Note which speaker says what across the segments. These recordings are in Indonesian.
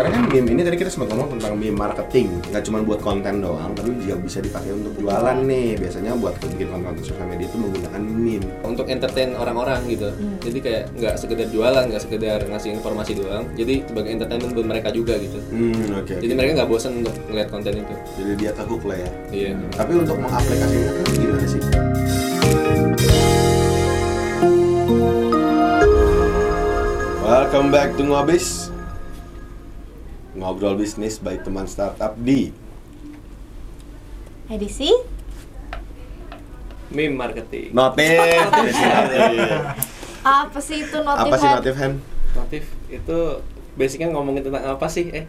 Speaker 1: Nah, BIM kan ini tadi kita sempat ngomong tentang BIM marketing nggak cuma buat konten doang tapi juga bisa dipakai untuk jualan nih biasanya buat bikin konten sosial media itu menggunakan BIM
Speaker 2: untuk entertain orang-orang gitu
Speaker 3: Hmm.
Speaker 2: jadi kayak nggak sekedar jualan nggak sekedar ngasih informasi doang jadi sebagai entertainment buat mereka juga gitu
Speaker 1: hmm oke
Speaker 2: jadi mereka nggak bosan untuk ngeliat konten itu
Speaker 1: jadi dia terhook lah ya
Speaker 2: iya
Speaker 1: tapi untuk mengaplikasikannya kan gimana sih Welcome back to Ngobis Ngobrol bisnis by teman startup di
Speaker 3: Edisi?
Speaker 2: meme marketing
Speaker 1: Notif
Speaker 3: Apa sih itu notif?
Speaker 1: Apa sih
Speaker 3: Hen?
Speaker 1: Notif Hen?
Speaker 2: motif itu basicnya ngomongin tentang apa sih eh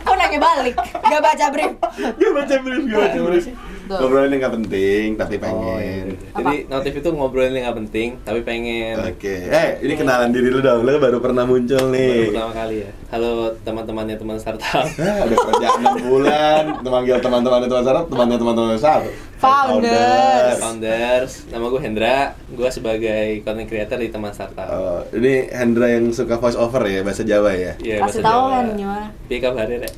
Speaker 3: Kok nanya balik? Gak baca brief?
Speaker 1: Gak baca brief, gak baca brief
Speaker 3: Tuh.
Speaker 1: Ngobrolin yang gak penting, tapi
Speaker 2: Oh, iya.
Speaker 1: pengen
Speaker 2: jadi notif itu ngobrolin yang nggak penting tapi pengen
Speaker 1: Oke, eh ini kenalan diri lu dong, lu baru pernah muncul
Speaker 2: Baru
Speaker 1: nih
Speaker 2: pertama kali ya halo teman-temannya teman startup
Speaker 1: Hah, ada kerjaan 6 bulan, manggil teman-teman itu startup, temannya teman-teman startup.
Speaker 3: Founders.
Speaker 2: founders nama gue Hendra gue sebagai content creator di teman startup
Speaker 1: Oh, ini Hendra yang suka voice over ya, bahasa Jawa ya.
Speaker 2: Iya,
Speaker 3: Kasih
Speaker 2: bahasa
Speaker 3: tahu
Speaker 2: Jawa.
Speaker 3: kan gimana?
Speaker 2: Piye kabare rek?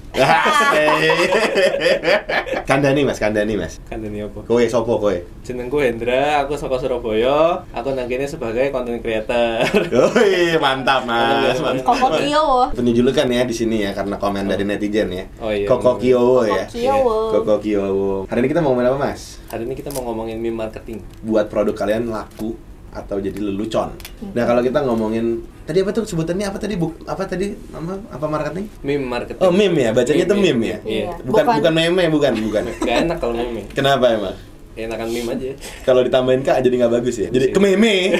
Speaker 1: Kandani Mas, Kandani Mas.
Speaker 2: Kandani Kan apa?
Speaker 1: Kowe sopo kowe?
Speaker 2: Jenengku Hendra, aku saka Surabaya. Aku nang kene sebagai content creator.
Speaker 1: Woi, mantap Mas. mantap.
Speaker 3: Koko Kiowo
Speaker 1: Penjulukan ya di sini ya karena komen dari netizen ya.
Speaker 2: Oh, iya.
Speaker 1: Koko Kiowo ya.
Speaker 3: Koko Kiowo
Speaker 1: Koko Kiowo. Hari ini kita mau ngomongin apa Mas?
Speaker 2: Hari ini kita mau ngomongin meme marketing.
Speaker 1: Buat produk kalian laku atau jadi lelucon. Nah kalau kita ngomongin tadi apa tuh sebutannya apa tadi Buk- apa tadi nama apa marketing?
Speaker 2: Meme marketing.
Speaker 1: Oh meme ya, bacanya tuh meme ya.
Speaker 2: Iya.
Speaker 3: Iya.
Speaker 1: Bukan
Speaker 3: Bukan.
Speaker 1: bukan meme bukan bukan.
Speaker 3: Iya.
Speaker 2: Gak enak kalau meme.
Speaker 1: Kenapa emang?
Speaker 2: Enakan meme aja.
Speaker 1: Kalau ditambahin kak jadi nggak bagus ya. Jadi kememe.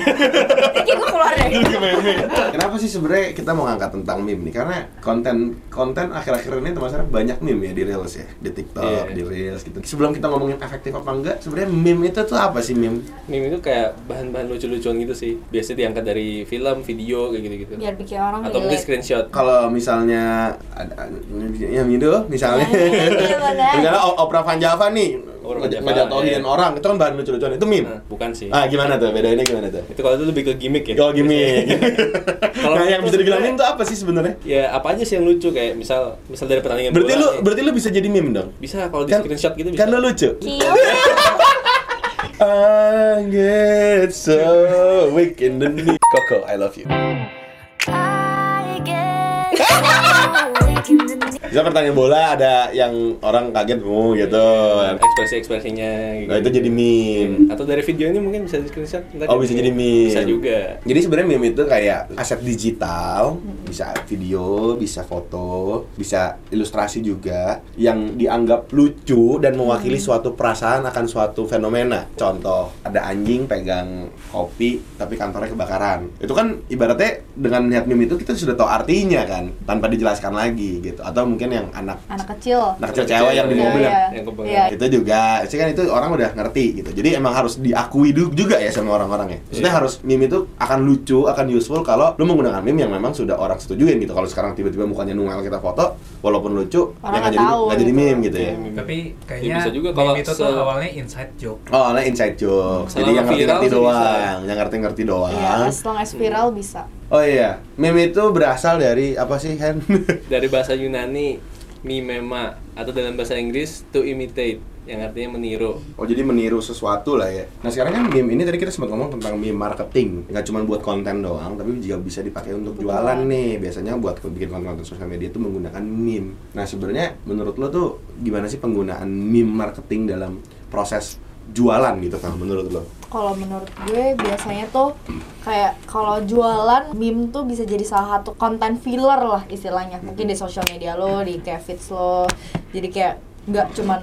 Speaker 3: Ini gue keluar deh
Speaker 1: Kenapa sih sebenarnya kita mau ngangkat tentang meme nih? Karena konten konten akhir-akhir ini termasuk banyak meme ya di reels ya, di TikTok,
Speaker 2: Iya.
Speaker 1: di reels gitu. Sebelum kita ngomongin efektif apa enggak, sebenarnya meme itu tuh apa sih meme?
Speaker 2: Meme itu kayak bahan-bahan lucu-lucuan gitu sih. Biasanya diangkat dari film, video kayak gitu-gitu.
Speaker 3: Biar bikin orang
Speaker 2: Atau mungkin
Speaker 3: relate
Speaker 2: screenshot.
Speaker 1: Kalau misalnya ada yang itu misalnya
Speaker 3: Iya, bener.
Speaker 1: misalnya O- Oprah Van Java nih
Speaker 2: Oprah Van
Speaker 1: ngej-
Speaker 2: Java,
Speaker 1: ngejatuhin
Speaker 2: iya.
Speaker 1: orang itu kan bahan lucu-lucuan itu meme.
Speaker 2: Nah, bukan sih.
Speaker 1: Ah gimana tuh bedainnya gimana tuh?
Speaker 2: Itu kalau itu lebih ke gimmick ya.
Speaker 1: Kalau gimmick.
Speaker 2: Kalau
Speaker 1: nah, yang
Speaker 2: itu
Speaker 1: bisa dibilang
Speaker 2: sebenarnya-
Speaker 1: meme tuh apa sih sebenarnya?
Speaker 2: Ya apa aja sih yang lucu kayak misal misal dari pertandingan
Speaker 1: Berarti
Speaker 2: bola
Speaker 1: lu
Speaker 2: nih.
Speaker 1: berarti lu bisa jadi meme dong.
Speaker 2: bisa Iya, kalau di
Speaker 1: Kan-
Speaker 2: screenshot gitu bisa.
Speaker 1: Kan lu lucu.
Speaker 3: Kiowo
Speaker 1: I get so weak in the knee. Coco, I love you. Bisa pertanyaan bola ada yang orang kaget oh, gitu.
Speaker 2: Iya. ekspresi-ekspresinya gitu.
Speaker 1: Nah itu jadi meme.
Speaker 2: atau dari video ini mungkin bisa di screenshot ntar
Speaker 1: Oh bisa jadi meme.
Speaker 2: bisa juga
Speaker 1: Jadi sebenarnya meme itu kayak aset digital, bisa video, bisa foto, bisa ilustrasi juga yang dianggap lucu dan mewakili suatu perasaan akan suatu fenomena. Contoh, ada anjing pegang kopi tapi kantornya kebakaran. Itu kan ibaratnya dengan lihat meme itu kita sudah tahu artinya kan, tanpa dijelaskan lagi gitu. Atau mungkin yang anak
Speaker 3: Anak kecil
Speaker 1: anak kecil cewek yang di
Speaker 2: Iya,
Speaker 1: mobil ya?
Speaker 2: iya.
Speaker 1: yang
Speaker 2: yang kebakaran.
Speaker 3: Iya.
Speaker 1: Nah, itu juga sih kan itu orang udah ngerti gitu jadi emang harus diakui du- juga ya sama orang-orang ya maksudnya
Speaker 2: Iya.
Speaker 1: harus meme itu akan lucu akan useful kalau lu menggunakan meme yang memang sudah orang setujuin gitu kalau sekarang tiba-tiba mukanya nunggal kita foto walaupun lucu
Speaker 3: Orang
Speaker 1: ya nggak
Speaker 3: nggak
Speaker 1: jadi
Speaker 3: tahu
Speaker 1: nggak jadi
Speaker 3: gitu.
Speaker 1: meme gitu ya
Speaker 2: Iya.
Speaker 4: tapi
Speaker 2: Ya,
Speaker 4: kayaknya
Speaker 2: bisa juga
Speaker 4: meme
Speaker 2: kalau
Speaker 4: itu
Speaker 2: se-
Speaker 4: tuh awalnya inside joke
Speaker 1: Oh, nah inside joke. Jadi
Speaker 2: Selama
Speaker 1: yang ngerti-ngerti
Speaker 2: viral sih bisa.
Speaker 1: doang, yang ngerti-ngerti doang.
Speaker 3: Iya, as long as viral bisa
Speaker 1: Oh iya, meme itu berasal dari apa sih, Hen?
Speaker 2: dari bahasa Yunani mimema atau dalam bahasa Inggris to imitate yang artinya meniru
Speaker 1: Oh jadi meniru sesuatu lah ya. Nah sekarang kan meme ini tadi kita sempat ngomong tentang meme marketing, nggak cuma buat konten doang, tapi juga bisa dipakai untuk
Speaker 3: Betul.
Speaker 1: jualan nih. Biasanya buat bikin konten-konten sosial media itu menggunakan meme. Nah sebenarnya menurut lo tuh gimana sih penggunaan meme marketing dalam proses jualan gitu kan menurut lo?
Speaker 3: kalau menurut gue biasanya tuh kayak kalau jualan meme tuh bisa jadi salah satu konten filler lah istilahnya mungkin
Speaker 1: Mm-hmm.
Speaker 3: di sosial media lo di kayak feeds lo jadi kayak nggak cuman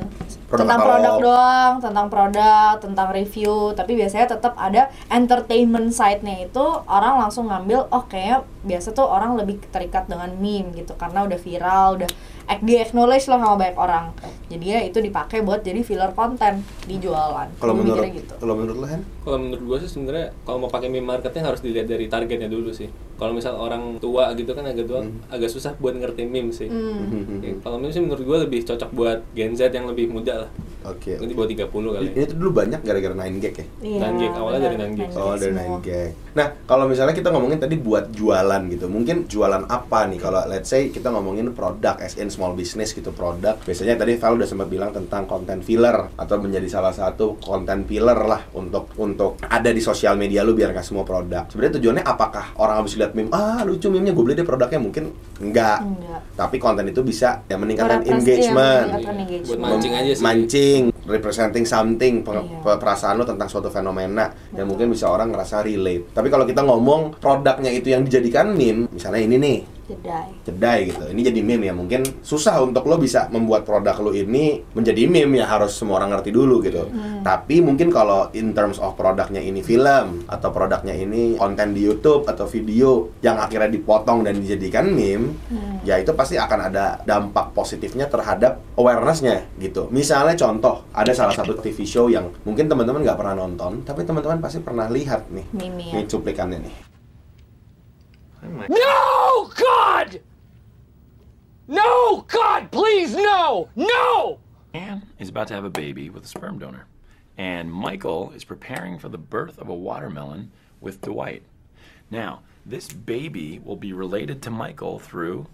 Speaker 1: Produk
Speaker 3: tentang
Speaker 1: katalog.
Speaker 3: produk doang tentang produk tentang review tapi biasanya tetap ada entertainment side-nya itu orang langsung ngambil oh kayak biasa tuh orang lebih terikat dengan meme gitu karena udah viral udah ac- di acknowledge lah sama banyak orang jadi ya itu dipakai buat jadi filler konten di jualan
Speaker 1: Kalau
Speaker 3: Gue
Speaker 1: menurut
Speaker 3: mikirnya gitu.
Speaker 1: kalau menurut lo Hen?
Speaker 2: kalau menurut gue sih sebenarnya kalau mau pakai meme marketing harus dilihat dari targetnya dulu sih kalau misal orang tua gitu kan agak tua
Speaker 1: Hmm.
Speaker 2: agak susah buat ngerti meme sih Mhm. Iya.
Speaker 3: Hmm.
Speaker 2: Ya, kalau meme sih menurut gue lebih cocok buat Gen Z yang lebih muda lah
Speaker 1: Oke.
Speaker 2: Nanti bawa 30 kali.
Speaker 1: Ini tuh dulu banyak gara-gara 9 gag ya.
Speaker 3: Iya,
Speaker 2: Nine gig, awalnya dari
Speaker 3: benar,
Speaker 2: nine gig.
Speaker 3: nine
Speaker 1: Oh, dari
Speaker 3: semua.
Speaker 1: 9 gag. Nah, kalau misalnya kita ngomongin tadi buat jualan gitu, mungkin jualan apa nih? Kalau let's say kita ngomongin produk, as in small business gitu, produk. Biasanya tadi Val udah sempat bilang tentang konten filler atau menjadi salah satu konten filler lah untuk untuk ada di sosial media lu biar nggak semua produk. Sebenarnya tujuannya apakah orang habis lihat meme, ah lucu meme-nya gue beli deh produknya mungkin enggak.
Speaker 3: Enggak.
Speaker 1: Tapi konten itu bisa ya meningkatkan
Speaker 3: Merepresentasi,
Speaker 1: engagement.
Speaker 3: Iya, kan engagement.
Speaker 2: Buat mancing aja sih.
Speaker 1: Mancing, representing something, per-
Speaker 3: Iya.
Speaker 1: per- perasaan lo tentang suatu fenomena yang mungkin bisa orang ngerasa relate. Tapi kalau kita ngomong produknya itu yang dijadikan meme, misalnya ini nih,
Speaker 3: Jedai.
Speaker 1: jedai gitu. Ini jadi meme ya, mungkin susah untuk lo bisa membuat produk lo ini menjadi meme ya harus semua orang ngerti dulu gitu. Tapi mungkin kalau in terms of produknya ini film atau produknya ini konten di YouTube atau video yang akhirnya dipotong dan dijadikan meme, ya itu pasti akan ada dampak positifnya terhadap awarenessnya gitu. Misalnya contoh, ada salah satu TV show yang mungkin teman-teman nggak pernah nonton, tapi teman-teman pasti pernah lihat nih.
Speaker 3: Meme ya.
Speaker 1: Ini cuplikannya nih.
Speaker 4: No, God! No, God, please, no! No!
Speaker 5: Anne is about to have a baby with a sperm donor, and Michael is preparing for the birth of a watermelon with Dwight. Now, this baby will be related to Michael through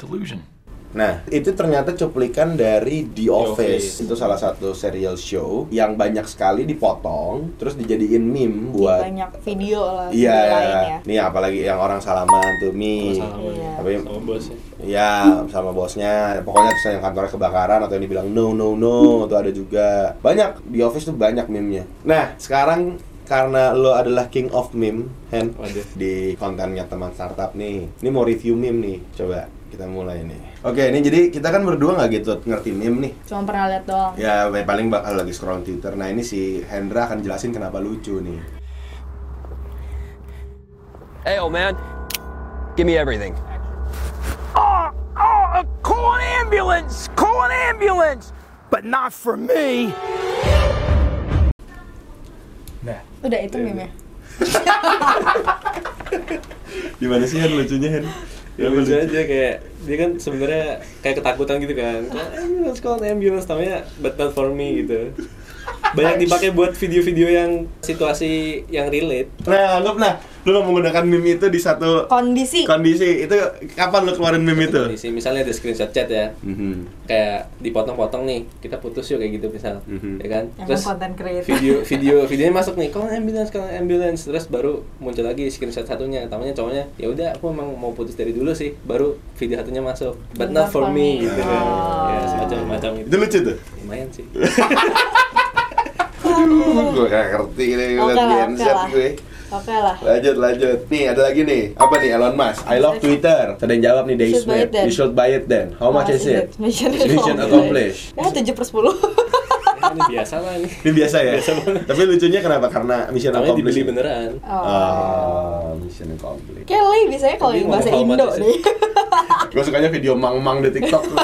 Speaker 5: delusion.
Speaker 1: Nah, itu ternyata cuplikan dari The Office.
Speaker 2: Office.
Speaker 1: Itu salah satu serial show yang banyak sekali dipotong, terus dijadiin meme buat
Speaker 3: Iya, Banyak video lah
Speaker 1: Iya.
Speaker 3: video lain ya.
Speaker 1: Nih apalagi yang orang salaman tuh meme.
Speaker 2: Salaman.
Speaker 3: Iya.
Speaker 1: Tapi
Speaker 2: Sama bosnya.
Speaker 1: ya sama bosnya, pokoknya terus yang kantornya kebakaran atau yang dibilang no no no itu ada juga. Banyak The Office tuh banyak meme-nya. Nah, sekarang karena lo adalah king of meme, Hen,
Speaker 2: Waduh.
Speaker 1: di kontennya teman startup nih. Ini mau review meme nih, coba kita mulai nih. Oke, ini jadi kita kan berdua nggak gitu ngerti meme nih.
Speaker 3: Cuma pernah lihat doang.
Speaker 1: Ya paling bakal lagi scroll Twitter. Nah ini si Hendra akan jelasin kenapa lucu nih.
Speaker 4: Hey, old man, give me everything.
Speaker 6: Oh, oh, call an ambulance! Call an ambulance! But not for me!
Speaker 4: Nah,
Speaker 3: Udah itu
Speaker 1: Iya,
Speaker 3: meme ya.
Speaker 1: Di mana sih Hen lucunya Hen? Iya,
Speaker 2: Ya lucu aja kayak dia kan sebenarnya kayak ketakutan gitu kan. Kayak, Ambulance call an ambulance namanya but not for me gitu. Banyak dipakai buat video-video yang situasi yang relate.
Speaker 1: Nah anggap nah, lu nggak menggunakan meme itu di satu
Speaker 3: Kondisi.
Speaker 1: kondisi itu kapan lu keluarin meme itu?
Speaker 2: Kondisi misalnya ada screenshot chat ya.
Speaker 1: Mhm.
Speaker 2: Kayak dipotong-potong nih, kita putus yuk kayak gitu misal. Ya kan?
Speaker 3: Emang konten kreatif.
Speaker 2: video video videonya masuk nih call ambulance call ambulance terus baru muncul lagi screenshot satunya tamanya cowoknya ya udah aku emang mau putus dari dulu sih baru video satunya masuk but not for me gitu kan ya semacam macam
Speaker 1: Itu
Speaker 2: itu
Speaker 1: lucu tuh.
Speaker 2: lumayan sih
Speaker 1: Aduh, gue gak ngerti nih
Speaker 3: Oke
Speaker 1: liat
Speaker 3: lah,
Speaker 1: Gen
Speaker 3: oke
Speaker 1: Z
Speaker 3: lah.
Speaker 1: gue.
Speaker 3: Oke lah.
Speaker 1: Lanjut, lanjut. Nih, ada lagi nih. Apa nih Elon Musk? I love Twitter. Ada yang jawab nih, they
Speaker 3: You should buy
Speaker 1: should
Speaker 3: it then.
Speaker 1: You should buy it then. How much is it?
Speaker 3: Mission
Speaker 1: Mission accomplished.
Speaker 3: Ya 7 per 10
Speaker 2: ya, ini biasa lah ini
Speaker 1: Ini biasa ya. Tapi lucunya kenapa? Karena mission
Speaker 2: namanya
Speaker 1: accomplished.
Speaker 2: dibeli beneran
Speaker 1: Ah, mission accomplished.
Speaker 3: Kelly Oh. biasanya kalau
Speaker 2: Tapi
Speaker 3: yang bahasa
Speaker 2: ngomong
Speaker 3: Indo
Speaker 2: hormat sih.
Speaker 3: deh
Speaker 1: Gue sukanya video mang-mang di TikTok tuh.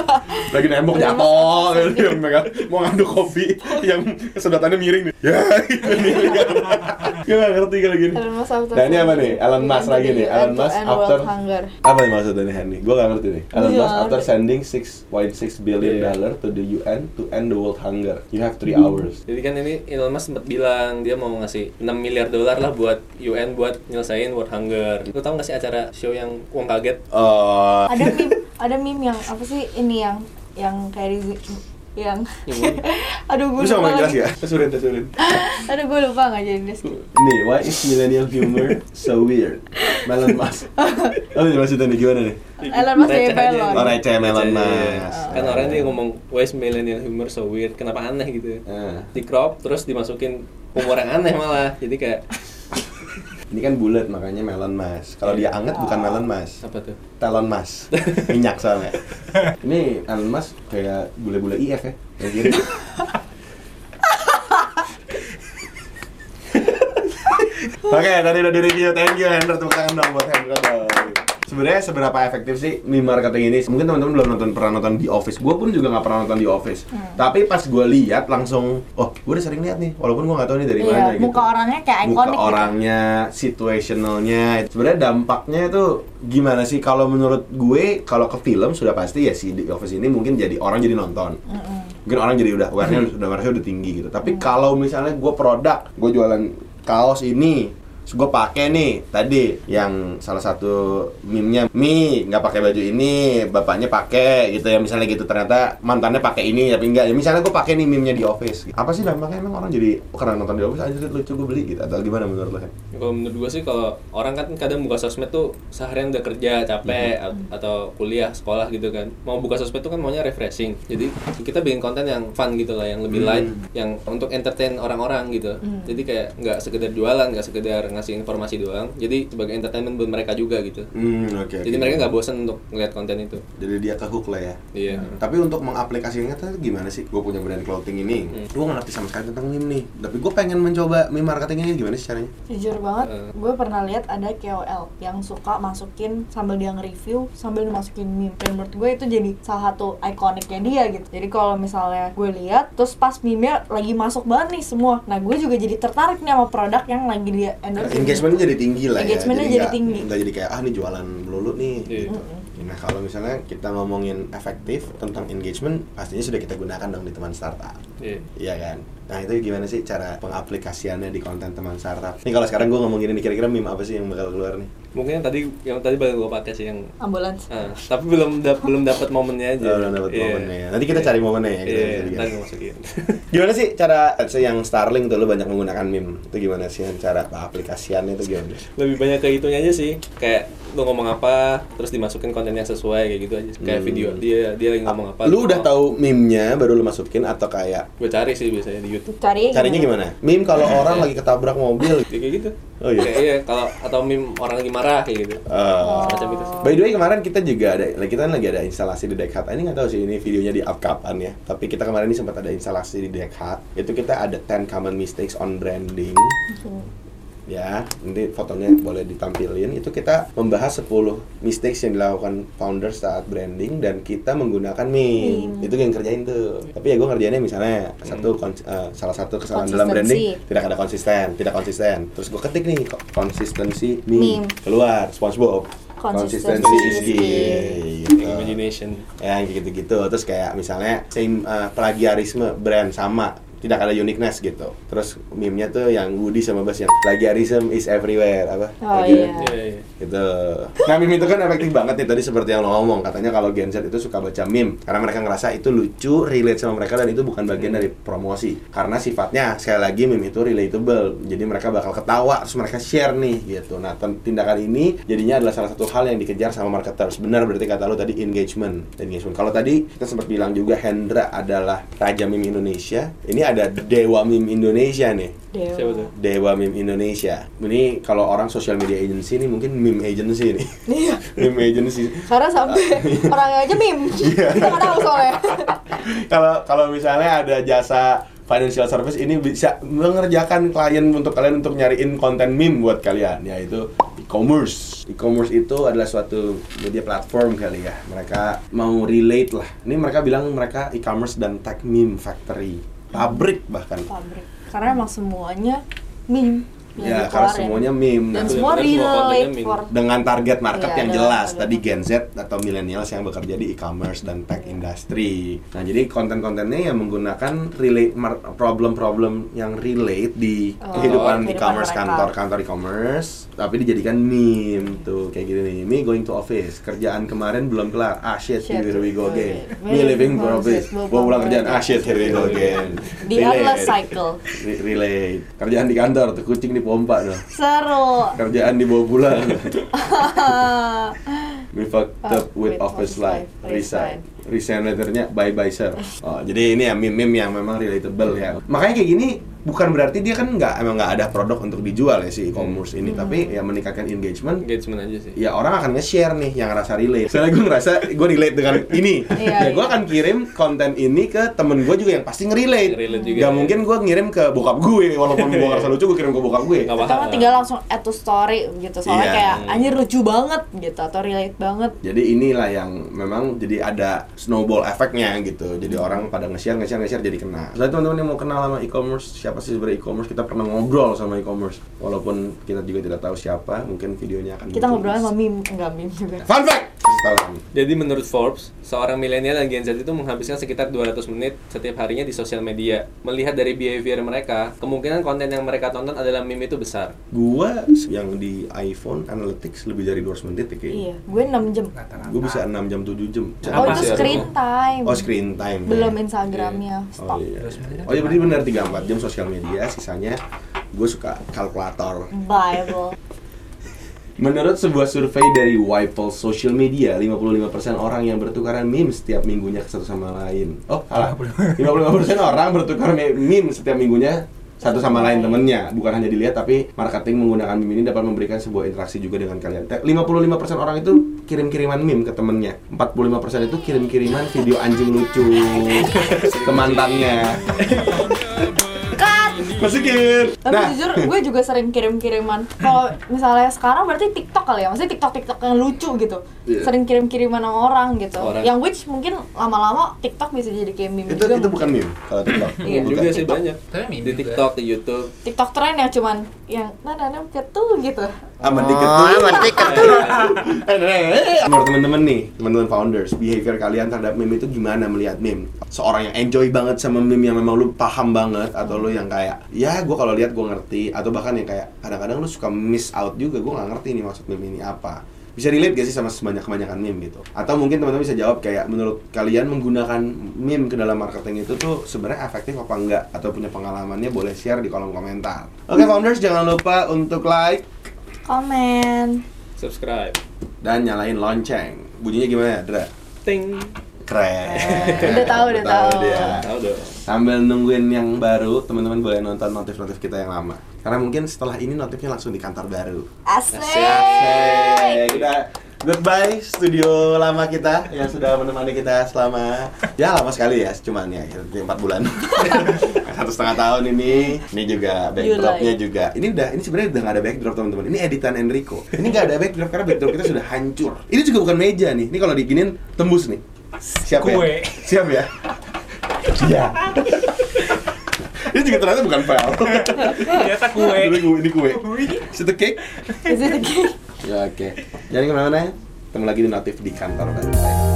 Speaker 1: lagi nembok jatuh gitu yang megang mau ngaduk kopi yang sedotannya miring nih. Ya, gitu nih. Gue gak ngerti kalau gini.
Speaker 3: Elon Musk after
Speaker 1: Nah, ini apa nih? Elon Musk lagi nih. Elon Musk
Speaker 3: And world
Speaker 1: after
Speaker 3: hunger.
Speaker 1: apa nih maksudnya nih Henry? Gue gak ngerti nih. Elon
Speaker 3: Iya.
Speaker 1: Musk after sending 6.6 billion dollar to the UN to end the world hunger, you have 3 hours.
Speaker 2: jadi kan ini Elon Musk sempat bilang dia mau ngasih 6 miliar dolar lah buat UN buat nyelesain world hunger. Lu tau gak sih acara show yang uang kaget?
Speaker 1: Eh,
Speaker 3: Ada meme Ada meme yang Apa sih ini yang Yang kayak di yang aduh gue
Speaker 1: bisa
Speaker 3: lupa
Speaker 1: ngomong jelas
Speaker 3: lagi
Speaker 1: ya? Surin, surin.
Speaker 3: aduh gue lupa nggak jadi deskripsi
Speaker 1: Nih, why is millennial humor so weird? Melon Mas. Apa nih maksudnya nih? Gimana nih?
Speaker 3: Elon Musk ya
Speaker 2: Receh aja.
Speaker 3: Elon
Speaker 1: Oh, receh Melon
Speaker 2: Iya.
Speaker 1: Mas.
Speaker 2: Kan orang dia ngomong wise millennial humor so weird, kenapa aneh gitu.
Speaker 1: Ah.
Speaker 2: Di crop terus dimasukin humor yang aneh malah. Jadi kayak
Speaker 1: Ini kan bulat makanya melon mas. Kalau dia anget bukan melon mas,
Speaker 2: apa tuh?
Speaker 1: telon mas. Minyak soalnya. Ini telon mas kayak bule-bule IF ya. Kayak gini. Oke, tadi udah di review. Thank you Hendra. Tepuk tangan dong buat Hendra dong. Sebenarnya seberapa efektif sih meme marketing ini? Mungkin teman-teman belum nonton pernah nonton di Office. Gue pun juga nggak pernah nonton di Office.
Speaker 3: Hmm.
Speaker 1: Tapi pas gue lihat langsung, oh gue udah sering lihat nih. Walaupun gue nggak tahu ini dari mana
Speaker 3: Iya,
Speaker 1: gitu.
Speaker 3: muka orangnya kayak
Speaker 1: Muka
Speaker 3: ikonik. gitu.
Speaker 1: orangnya, situationalnya. Sebenarnya dampaknya itu gimana sih? Kalau menurut gue, kalau ke film sudah pasti ya si The Office ini mungkin jadi orang jadi nonton. Mungkin orang jadi udah awareness udah awareness udah tinggi gitu. Tapi kalau misalnya gue produk, gue jualan kaos ini, gue pakai nih tadi yang salah satu meme-nya mi nggak pakai baju ini bapaknya pakai gitu ya misalnya gitu ternyata mantannya pakai ini tapi enggak ya misalnya gue pakai nih meme-nya di office gitu. apa sih dampaknya emang orang jadi oh, karena nonton di office aja lucu gue beli gitu atau gimana menurut lo Hen?
Speaker 2: Kalau menurut gue sih kalau orang kan kadang buka sosmed tuh seharian udah kerja capek at-
Speaker 1: Mm-hmm.
Speaker 2: atau kuliah sekolah gitu kan mau buka sosmed tuh kan maunya refreshing jadi kita bikin konten yang fun gitu lah yang
Speaker 1: Mm.
Speaker 2: lebih light yang untuk entertain orang-orang gitu jadi kayak nggak sekedar jualan nggak sekedar ngasih informasi doang jadi sebagai entertainment buat mereka juga gitu
Speaker 1: Hmm, oke.
Speaker 2: jadi mereka nggak bosan untuk ngeliat konten itu
Speaker 1: jadi dia ke hook lah ya.
Speaker 2: iya
Speaker 1: Tapi untuk mengaplikasikannya tuh gimana sih? Gue punya brand clothing ini,
Speaker 2: Hmm.
Speaker 1: gue nggak ngerti sama sekali tentang meme nih. Tapi gue pengen mencoba meme marketing ini gimana sih caranya?
Speaker 3: Jujur banget,
Speaker 2: Eh.
Speaker 3: gue pernah lihat ada KOL yang suka masukin sambil dia nge-review sambil dimasukin meme. Dan menurut gue itu jadi salah satu ikoniknya dia gitu. Jadi kalau misalnya gue lihat, terus pas meme-nya lagi masuk banget nih semua. Nah gue juga jadi tertarik nih sama produk yang lagi dia endorse.
Speaker 1: Engagementnya jadi tinggi lah ya.
Speaker 3: Engagementnya jadi
Speaker 1: nggak-
Speaker 3: tinggi.
Speaker 1: nggak jadi kayak ah ini jualan melulu nih.
Speaker 2: Iya.
Speaker 1: gitu. Nah kalau misalnya kita ngomongin efektif tentang engagement, pastinya sudah kita gunakan dong di teman startup.
Speaker 2: iya
Speaker 1: Iya kan? Nah itu gimana sih cara pengaplikasiannya di konten teman startup? Nih kalau sekarang gue ngomongin ini kira-kira meme apa sih yang bakal keluar nih?
Speaker 2: mungkin yang tadi yang tadi baru gue pakai sih yang
Speaker 3: Ambulans.
Speaker 2: ah, tapi belum dap- belum dapat momennya aja
Speaker 1: Belum dapat
Speaker 2: Iya.
Speaker 1: momennya ya. Nanti kita cari momennya ya, kita
Speaker 2: iya
Speaker 1: bisa bikin.
Speaker 2: ntar gue masukin
Speaker 1: Gimana sih cara let's say yang Starling tuh lo banyak menggunakan meme? Itu gimana sih cara aplikasiannya itu gimana?
Speaker 2: lebih banyak ke itunya aja sih kayak lu ngomong apa terus dimasukin konten yang sesuai kayak gitu aja kayak video dia dia lagi ngomong apa
Speaker 1: Hmm. Lu udah
Speaker 2: tau
Speaker 1: tahu meme-nya baru lu masukin atau kayak
Speaker 2: gue cari sih biasanya di YouTube
Speaker 3: Cari
Speaker 1: caranya gimana? Meme kalau orang lagi ketabrak mobil.
Speaker 2: Ya, kayak gitu
Speaker 1: Oh, iya?
Speaker 2: kayak iya kalau atau meme orang lagi marah kayak gitu
Speaker 1: Eh,
Speaker 3: Oh.
Speaker 2: macam itu sih
Speaker 1: By the way kemarin kita juga ada kita kan lagi ada instalasi di Deck Hut. Ini nggak tahu sih ini videonya di up kapan ya. Tapi kita kemarin ini sempat ada instalasi di Deck Hut. Itu kita ada 10 common mistakes on branding. Ya, nanti fotonya boleh ditampilin. Itu kita membahas 10 mistakes yang dilakukan founder saat branding dan kita menggunakan
Speaker 3: Hmm.
Speaker 1: meme. Itu yang kerjain tuh. Tapi ya gue ngerjainnya misalnya satu kon- eh, salah satu kesalahan dalam branding
Speaker 3: Konsistensi.
Speaker 1: tidak ada konsisten, tidak konsisten. Terus gue ketik nih ko- konsistensi meme.
Speaker 3: Meme.
Speaker 1: Keluar SpongeBob.
Speaker 3: Konsistensi
Speaker 1: Konsistensi is
Speaker 3: is key.
Speaker 1: key. Gitu.
Speaker 2: imagination
Speaker 1: Ya kayak gitu-gitu. Terus kayak misalnya same eh, plagiarisme brand sama tidak ada uniqueness gitu. Terus meme-nya tuh yang Woody sama Bas yang plagiarism is everywhere apa?
Speaker 3: Oh
Speaker 1: Plagiar-
Speaker 3: iya.
Speaker 2: iya iya
Speaker 1: gitu. Nah meme itu kan efektif banget nih tadi seperti yang lo ngomong katanya kalau Gen Z itu suka baca meme karena mereka ngerasa itu lucu, relate sama mereka dan itu bukan bagian dari promosi karena sifatnya sekali lagi meme itu relatable jadi mereka bakal ketawa terus mereka share nih gitu. Nah ten- tindakan ini jadinya adalah salah satu hal yang dikejar sama marketers benar berarti kata lo tadi engagement engagement. Kalau tadi kita sempat bilang juga Hendra adalah raja meme Indonesia ini ada dewa meme Indonesia nih.
Speaker 3: Dewa.
Speaker 2: siapa tuh
Speaker 1: Dewa Meme Indonesia. Ini kalau orang social media agency ini mungkin meme agency nih.
Speaker 3: Iya.
Speaker 1: meme agency.
Speaker 3: Karena sampai
Speaker 1: Ah.
Speaker 3: orangnya aja meme.
Speaker 1: Iya.
Speaker 3: Kita nggak tahu soalnya.
Speaker 1: Kalau kalau misalnya ada jasa financial service ini bisa mengerjakan klien untuk kalian untuk nyariin konten meme buat kalian yaitu e-commerce. E-commerce itu adalah suatu media platform kali ya. Mereka mau relate lah. Ini mereka bilang mereka e-commerce dan tech meme factory. Pabrik bahkan.
Speaker 3: Pabrik. Karena emang semuanya meme. yang
Speaker 1: Ya,
Speaker 3: dikeluarin.
Speaker 1: karena semuanya meme.
Speaker 3: dan
Speaker 1: Nah,
Speaker 3: semua
Speaker 2: benar-benar semua kontennya
Speaker 3: relate
Speaker 2: meme.
Speaker 3: for
Speaker 1: dengan target market
Speaker 3: Iya,
Speaker 1: yang
Speaker 3: ada
Speaker 1: jelas
Speaker 3: target
Speaker 1: tadi
Speaker 3: market.
Speaker 1: Gen Z atau millennials yang bekerja di e-commerce dan tech industry. Nah, jadi konten-kontennya yang menggunakan relate mar- problem-problem yang relate di
Speaker 3: Oh,
Speaker 1: kehidupan
Speaker 3: kehidupan
Speaker 1: e-commerce
Speaker 3: mereka.
Speaker 1: kantor-kantor e-commerce tapi dijadikan meme tuh kayak gini nih. Me going to office, kerjaan kemarin belum kelar. Ah shit,
Speaker 3: Shit,
Speaker 1: here we go again.
Speaker 3: okay.
Speaker 1: Me living for office,
Speaker 3: Bawa
Speaker 1: mau pulang kerjaan. Ah
Speaker 3: pulang
Speaker 1: shit, here we go again.
Speaker 3: the
Speaker 1: Relate.
Speaker 3: endless cycle
Speaker 1: Re- Relate. Kerjaan di kantor tuh kucing dipompa tuh.
Speaker 3: seru
Speaker 1: Kerjaan dibawa pulang.
Speaker 3: Ah,
Speaker 1: We fucked up
Speaker 3: Fuck
Speaker 1: with
Speaker 3: Oh, with
Speaker 1: office
Speaker 3: office
Speaker 1: life.
Speaker 3: life.
Speaker 1: Resign. Resign letternya bye bye sir. Oh, jadi ini ya meme-meme yang memang relatable ya. Makanya kayak gini bukan berarti dia kan nggak emang nggak ada produk untuk dijual ya si e-commerce ini
Speaker 3: Hmm.
Speaker 1: tapi ya meningkatkan engagement
Speaker 2: engagement aja sih
Speaker 1: ya orang akan nge-share nih yang ngerasa relate soalnya gue ngerasa gue relate dengan ini ya
Speaker 3: Iya,
Speaker 1: gue
Speaker 3: iya.
Speaker 1: akan kirim konten ini ke temen gue juga yang pasti ngerelate
Speaker 2: Ngerelate juga,
Speaker 1: gak
Speaker 2: ya.
Speaker 1: mungkin gue ngirim ke bokap gue walaupun gue ngerasa lucu gue kirim ke bokap gue
Speaker 2: Nggak
Speaker 3: atau nggak
Speaker 2: paham.
Speaker 3: tinggal langsung add to story gitu soalnya
Speaker 1: Iya.
Speaker 3: kayak anjir lucu banget gitu atau relate banget
Speaker 1: jadi inilah yang memang jadi ada snowball efeknya gitu
Speaker 3: Hmm.
Speaker 1: jadi orang pada nge-share nge-share nge-share jadi kena soalnya teman-teman yang mau kenal sama e-commerce siapa sih sebenarnya e-commerce kita pernah ngobrol sama e-commerce walaupun kita juga tidak tahu siapa mungkin videonya akan
Speaker 3: kita
Speaker 1: muncul.
Speaker 3: ngobrolnya sama meme enggak meme juga
Speaker 1: fun fact Salam.
Speaker 2: Jadi menurut Forbes, seorang milenial dan Gen Z itu menghabiskan sekitar 200 menit setiap harinya di sosial media. Melihat dari behavior mereka, kemungkinan konten yang mereka tonton adalah meme itu besar.
Speaker 1: gua yang di iPhone analytics lebih dari 200 menit ya kayaknya
Speaker 3: iya gue 6 jam
Speaker 1: gue bisa 6 jam 7 jam
Speaker 3: oh
Speaker 2: Apa
Speaker 3: itu
Speaker 2: sih
Speaker 3: screen time
Speaker 1: oh screen time
Speaker 3: belum
Speaker 1: ya.
Speaker 3: instagramnya
Speaker 1: oh
Speaker 3: stop
Speaker 1: iya oh iya berarti benar 34 jam sosial media sisanya gue suka kalkulator
Speaker 3: bible
Speaker 1: Menurut sebuah survei dari Wipol Social Media, 55% orang yang bertukaran meme setiap minggunya ke satu sama lain. Oh, salah. 55% orang bertukar me- meme setiap minggunya satu sama lain temennya bukan hanya dilihat tapi marketing menggunakan meme ini dapat memberikan sebuah interaksi juga dengan kalian Te- 55% orang itu kirim-kiriman meme ke temennya 45% itu kirim-kiriman video anjing lucu ke mantannya
Speaker 3: cut
Speaker 1: masukin
Speaker 3: tapi jujur gue juga sering kirim-kiriman kalau misalnya sekarang berarti TikTok kali ya maksudnya TikTok TikTok yang lucu gitu
Speaker 1: Iya.
Speaker 3: sering kirim-kiriman sama orang gitu
Speaker 2: Orang.
Speaker 3: yang which mungkin lama-lama TikTok bisa jadi kayak meme
Speaker 1: itu
Speaker 3: juga
Speaker 1: itu bukan meme kalau TikTok
Speaker 3: Iya.
Speaker 2: Meme juga sih
Speaker 3: TikTok.
Speaker 2: banyak.
Speaker 7: Tapi meme
Speaker 2: di
Speaker 7: juga.
Speaker 2: TikTok, di YouTube.
Speaker 3: TikTok tren yang cuman yang nah nah nah ketul gitu
Speaker 1: aman dikit tuh aman dikit menurut teman-teman nih teman-teman founders behavior kalian terhadap meme itu gimana melihat meme seorang yang enjoy banget sama meme yang memang lu paham banget atau lu yang kayak ya gua kalau lihat gua ngerti atau bahkan yang kayak kadang-kadang lu suka miss out juga gua nggak ngerti nih maksud meme ini apa bisa relate gak sih sama sebanyak kebanyakan meme gitu atau mungkin teman-teman bisa jawab kayak menurut kalian menggunakan meme ke dalam marketing itu tuh sebenarnya efektif apa enggak atau punya pengalamannya boleh share di kolom komentar oke founders jangan lupa untuk like
Speaker 3: komen
Speaker 2: Subscribe.
Speaker 1: dan nyalain lonceng. Bunyinya gimana, ya, Dra?
Speaker 2: Ting.
Speaker 1: Keren.
Speaker 3: Udah tahu, udah tahu.
Speaker 1: dia.
Speaker 2: Tahu dong.
Speaker 1: Sambil nungguin yang baru, teman-teman boleh nonton notif-notif kita yang lama. Karena mungkin setelah ini notifnya langsung di kantor baru.
Speaker 3: asik
Speaker 1: Kita goodbye studio lama kita yang sudah menemani kita selama ya lama sekali ya, cuman ya empat bulan. Satu setengah tahun ini. Ini juga backdropnya
Speaker 3: Yulai.
Speaker 1: juga. Ini udah ini sebenarnya udah nggak ada backdrop teman-teman. Ini editan Enrico. Ini nggak ada backdrop karena backdrop kita sudah hancur. Ini juga bukan meja nih. Ini kalau diginin tembus nih. Siap
Speaker 7: Kue.
Speaker 1: ya? Siap ya? Iya. ini juga ternyata bukan file.
Speaker 7: Ternyata kue.
Speaker 1: Ini kue. Ini kue. Is it a cake?
Speaker 3: Is it a game?
Speaker 1: Ya, Oke. Jadi kemana-mana, ketemu lagi di notif di kantor Banteng.